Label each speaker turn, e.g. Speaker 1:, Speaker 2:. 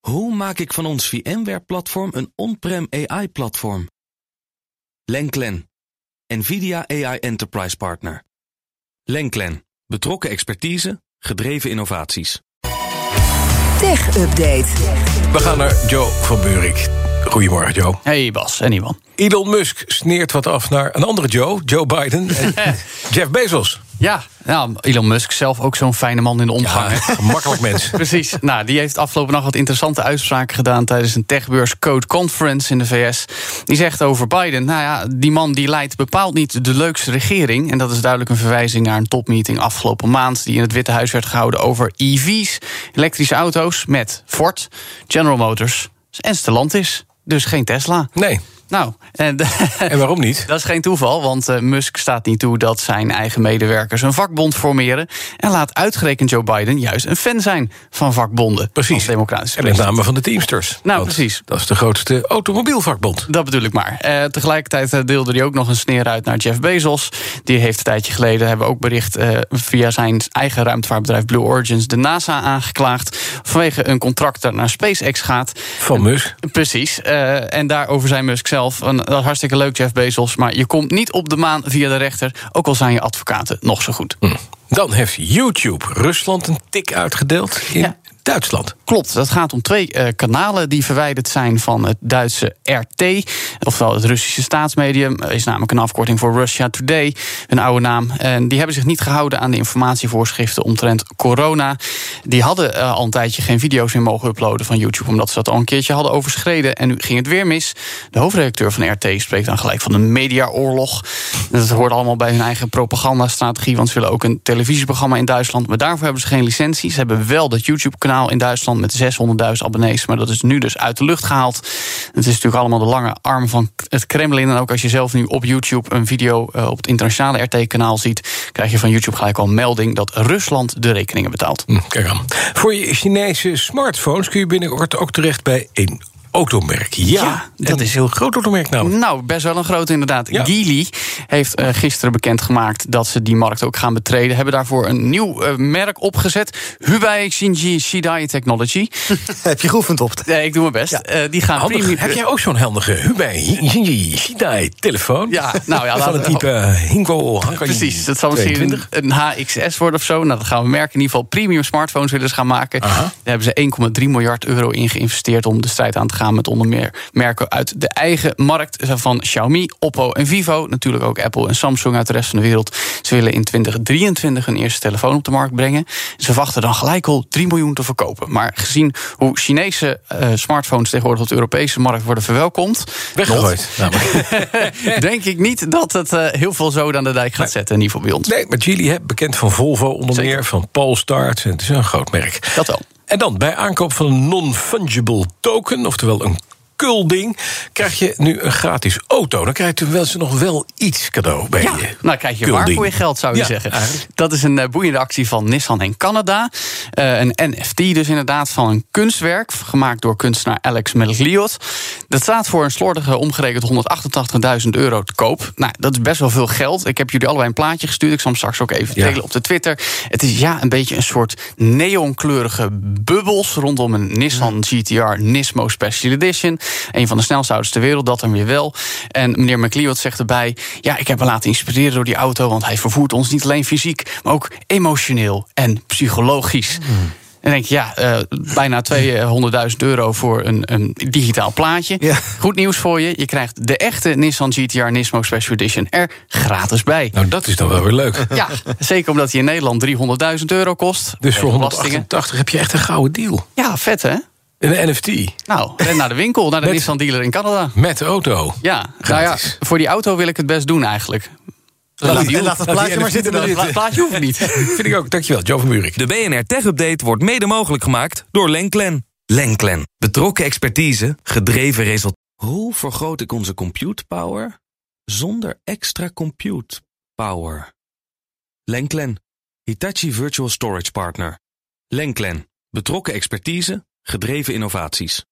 Speaker 1: Hoe maak ik van ons VMware-platform een on-prem AI-platform? Lenklen, NVIDIA AI Enterprise Partner. Lenklen, betrokken expertise, gedreven innovaties.
Speaker 2: Tech Update.
Speaker 3: We gaan naar Joe van Buurik. Goedemorgen, Joe.
Speaker 4: Hey Bas en Iwan.
Speaker 3: Elon Musk sneert wat af naar een andere Joe, Joe Biden. en Jeff Bezos.
Speaker 4: Ja, nou, Elon Musk zelf ook zo'n fijne man in de omgang. hè?
Speaker 3: Gemakkelijk mens.
Speaker 4: Precies. Nou, die heeft afgelopen nacht wat interessante uitspraken gedaan tijdens een techbeurs Code Conference in de VS. Die zegt over Biden: Nou ja, die man die leidt bepaald niet de leukste regering. En dat is duidelijk een verwijzing naar een topmeeting afgelopen maand. die in het Witte Huis werd gehouden over EV's, elektrische auto's. met Ford, General Motors en Stellantis. Dus geen Tesla.
Speaker 3: Nee,
Speaker 4: Nou, en
Speaker 3: en waarom niet?
Speaker 4: dat is geen toeval, want eh, Musk staat niet toe dat zijn eigen medewerkers een vakbond formeren. En laat uitgerekend Joe Biden juist een fan zijn van vakbonden.
Speaker 3: Precies.
Speaker 4: Als democratische
Speaker 3: En met
Speaker 4: president.
Speaker 3: name van de Teamsters.
Speaker 4: Nou,
Speaker 3: Want
Speaker 4: precies.
Speaker 3: Dat is de grootste automobielvakbond.
Speaker 4: Dat bedoel ik maar. Eh, tegelijkertijd eh, deelde hij ook nog een sneer uit naar Jeff Bezos. Die heeft een tijdje geleden, hebben we ook bericht, eh, via zijn eigen ruimtevaartbedrijf Blue Origins de NASA aangeklaagd. Vanwege een contract dat naar SpaceX gaat.
Speaker 3: Van Musk.
Speaker 4: Precies. eh, en daarover zei Musk zelf: van, dat is hartstikke leuk, Jeff Bezos. Maar je komt niet op de maan via de rechter. Ook al zijn je advocaten nog zo goed.
Speaker 3: Hm. Dan heeft YouTube Rusland een tik uitgedeeld in
Speaker 4: Ja.
Speaker 3: Duitsland.
Speaker 4: Klopt, dat gaat om twee eh, kanalen die verwijderd zijn van het Duitse RT. Oftewel het Russische staatsmedium. eh, Is namelijk een afkorting voor Russia Today, een oude naam. En die hebben zich niet gehouden aan de informatievoorschriften omtrent corona. Die hadden eh, al een tijdje geen video's meer mogen uploaden van YouTube, omdat ze dat al een keertje hadden overschreden. En nu ging het weer mis. De hoofdredacteur van RT spreekt dan gelijk van een mediaoorlog. En Dat hoort allemaal bij hun eigen propagandastrategie, want ze willen ook een televisieprogramma in Duitsland. Maar daarvoor hebben ze geen licentie. Ze hebben wel dat YouTube-kanaal in Duitsland met 600.000 abonnees, maar dat is nu dus uit de lucht gehaald. Het is natuurlijk allemaal de lange arm van het Kremlin. En ook als je zelf nu op YouTube een video eh, op het internationale RT-kanaal ziet, krijg je van YouTube gelijk al een melding dat Rusland de rekeningen betaalt.
Speaker 3: Hm, Kijk aan. Voor je Chinese smartphones kun je binnenkort ook terecht bij een automerk. Ja,
Speaker 4: Ja, dat
Speaker 3: een
Speaker 4: is-
Speaker 3: heel groot automerk namelijk.
Speaker 4: Nou, best wel een grote inderdaad.
Speaker 3: Ja.
Speaker 4: Geely heeft eh, gisteren bekendgemaakt dat ze die markt ook gaan betreden. Hebben daarvoor een nieuw eh, merk opgezet. Hubei Xinji Shidai Technology.
Speaker 5: Heb je geoefend op het?
Speaker 4: Eh, ik doe mijn best. Eh, die gaan
Speaker 3: Handig.
Speaker 4: premium-
Speaker 3: Heb jij ook zo'n handige Hubei Jinji Shidai telefoon?
Speaker 4: Ja, nou ja,
Speaker 3: van
Speaker 4: laten
Speaker 3: het
Speaker 4: we-
Speaker 3: type eh, Hinko Hankai
Speaker 4: Precies, dat zal misschien
Speaker 3: 22.
Speaker 4: een HXS worden of zo. Nou, dat gaan we merken. In ieder geval premium smartphones willen ze gaan maken. Daar hebben ze 1,3 miljard euro in geïnvesteerd... om de strijd aan te gaan met onder meer merken uit de eigen markt... van Xiaomi, Oppo en Vivo. Natuurlijk ook Apple en Samsung uit de rest van de wereld. Ze willen in 2023 hun eerste telefoon op de markt brengen. Ze wachten dan gelijk al 3 miljoen te verkopen. Maar gezien hoe Chinese eh, smartphones tegenwoordig op de Europese markt worden verwelkomd...
Speaker 3: Weggegooid. namelijk.
Speaker 4: denk ik niet dat het eh, heel veel zoden aan de dijk gaat zetten, in ieder geval bij ons.
Speaker 3: nee, maar Geely, hè, bekend van Volvo onder
Speaker 4: Zeker.
Speaker 3: meer, van Polestar. Het is een- het is een groot merk.
Speaker 4: Dat wel.
Speaker 3: En dan, bij aankoop van een non-fungible token, oftewel een kulding... krijg je nu een gratis auto. Dan krijg je tenminste nog wel iets cadeau bij je.
Speaker 4: Nou, krijg je
Speaker 3: kulding.
Speaker 4: waar voor je geld, zou je
Speaker 3: Ja,
Speaker 4: zeggen.
Speaker 3: eigenlijk.
Speaker 4: Dat is een eh, boeiende actie van Nissan en Canada. Eh, een NFT dus inderdaad van een kunstwerk... gemaakt door kunstenaar Alex Melgliot. Dat staat voor een slordige omgerekend 188.000 euro te koop. Nou, dat is best wel veel geld. Ik heb jullie allebei een plaatje gestuurd. Ik zal hem straks ook even
Speaker 3: Ja.
Speaker 4: delen op de Twitter. Het is ja een beetje een soort neonkleurige bubbels... rondom een Nissan GTR Nismo Special Edition. Een van de snelste auto's ter wereld, dat dan weer wel. En meneer McLeod zegt erbij... ja, ik heb me laten inspireren door die auto... want hij vervoert ons niet alleen fysiek... maar ook emotioneel en psychologisch.
Speaker 3: Hmm.
Speaker 4: En denk je, ja, eh, bijna 200.000 euro voor een, een digitaal plaatje.
Speaker 5: Ja.
Speaker 4: Goed nieuws voor je. Je krijgt de echte Nissan GTR Nismo Special Edition er gratis bij.
Speaker 3: Nou, dat is dan wel weer leuk.
Speaker 4: Ja, zeker omdat hij in Nederland 300.000 euro kost.
Speaker 3: Dus voor
Speaker 4: Met belastingen.
Speaker 3: 188 heb je echt een gouden deal.
Speaker 4: Ja, vet hè?
Speaker 3: Een NFT
Speaker 4: Nou, ren naar de winkel, naar de
Speaker 3: Met-
Speaker 4: Nissan dealer in Canada.
Speaker 3: met auto.
Speaker 4: Ja, nou ja,
Speaker 3: Gratis.
Speaker 4: voor die auto wil ik het best doen eigenlijk.
Speaker 5: Laat,
Speaker 3: die-
Speaker 5: laat het
Speaker 3: laat
Speaker 5: plaatje
Speaker 3: die
Speaker 5: maar zitten
Speaker 3: NFT
Speaker 5: dan.
Speaker 3: erin.
Speaker 4: Pla- plaatje hoeft niet.
Speaker 3: Vind ik ook. Dankjewel, Joe van Buurik.
Speaker 1: De BNR Tech Update wordt mede mogelijk gemaakt door Lenklen. Lenklen. Betrokken expertise, gedreven resultaten. Hoe vergroot ik onze compute power zonder extra compute power? Lenklen. Hitachi Virtual Storage Partner. Lenklen. Betrokken expertise, gedreven innovaties.